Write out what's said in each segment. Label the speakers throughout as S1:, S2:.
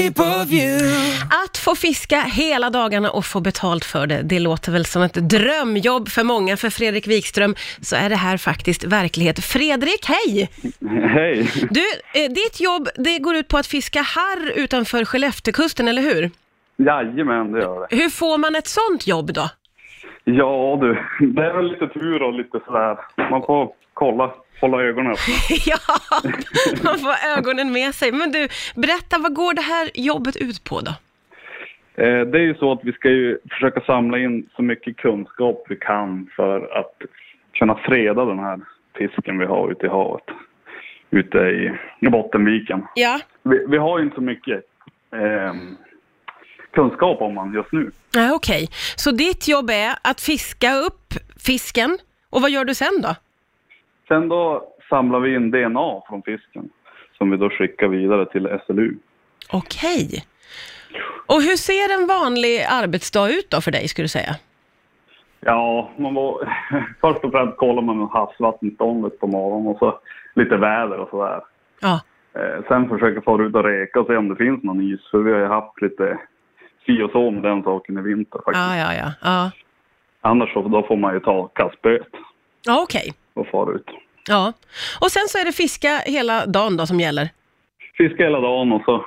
S1: shape of you
S2: Att få fiska hela dagarna och få betalt för det, det låter väl som ett drömjobb för många. För Fredrik Wikström så är det här faktiskt verklighet. Fredrik, hej!
S3: Hej!
S2: Du, eh, ditt jobb det går ut på att fiska harr utanför Skellefteåkusten, eller hur?
S3: Jajamän, det gör det.
S2: Hur får man ett sånt jobb då?
S3: Ja du, det är väl lite tur och lite sådär. Man får kolla, hålla ögonen öppna.
S2: ja, man får ögonen med sig. Men du, berätta, vad går det här jobbet ut på då?
S3: Eh, Det är ju så att vi ska ju försöka samla in så mycket kunskap vi kan för att kunna freda den här fisken vi har ute i havet. Ute i i Bottenviken.
S2: Ja.
S3: Vi, vi har ju inte så mycket eh, kunskap om man just nu.
S2: Nej, okej. Så ditt jobb är att fiska upp fisken, och vad gör du sen då?
S3: Sen då samlar vi in DNA från fisken som vi då skickar vidare till SLU.
S2: Okej. Och hur ser en vanlig arbetsdag ut då för dig, skulle du säga?
S3: Ja, man var, först och främst kollar man havsvattenståndet på morgonen och så lite väder och sådär.
S2: Ja.
S3: Eh, sen försöker fara ut och reka och se om det finns någon is, för vi har ju haft lite si och så med den saken i vinter faktiskt.
S2: Ja, ja, ja. Ja,
S3: Annars så då får man ju ta kastspöet
S2: ja okej.
S3: och fara ut.
S2: Ja. Och sen så är det fiska hela dagen då som gäller?
S3: Fiska hela dagen och så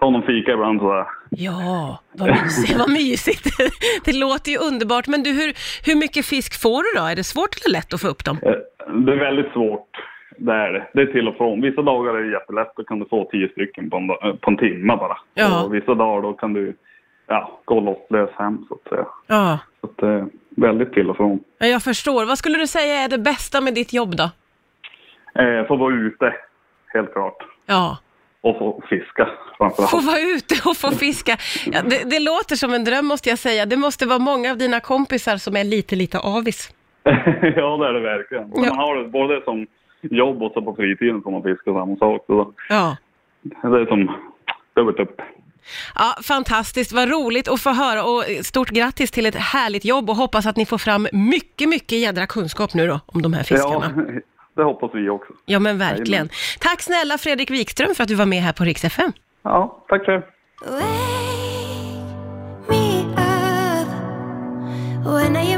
S3: ta någon fika ibland sådär.
S2: Ja, vad mysigt. Vad mysigt. Det låter ju underbart. Men du, hur, hur mycket fisk får du då? Är det svårt eller lätt att få upp dem?
S3: Eh, det är väldigt svårt, det är det. Det är till och från. Vissa dagar är det jättelätt, då kan du få tio stycken på en, dag- eh, på en timme bara.
S2: Ja.
S3: Och vissa dagar då kan du ja, gå lottlös hem så att säga.
S2: Ja,
S3: Så att, eh, väldigt till och från.
S2: Ja, jag förstår. Vad skulle du säga är det bästa med ditt jobb då?
S3: Eh, få vara ute, helt klart.
S2: Ja,
S3: Och få fiska
S2: få
S3: framförallt.
S2: vara ute och få fiska. Ja, det, det låter som en dröm måste jag säga. Det måste vara många av dina kompisar som är lite, lite avis.
S3: ja, det är det verkligen.
S2: Ja.
S3: Man har det både som jobb och så på fritiden får man fiska samma sak. Så
S2: Ja.
S3: det är som dubbelt upp.
S2: Ja, fantastiskt. Vad roligt att få höra och stort grattis till ett härligt jobb och hoppas att ni får fram mycket, mycket jädra kunskap nu då om de här
S3: Ja,
S2: fiskarna. Ja,
S3: det hoppas vi också.
S2: men verkligen. Tack snälla Fredrik Wikström för att du var med här på Rix FM.
S3: Ja, tack själv.
S4: Wake me up when I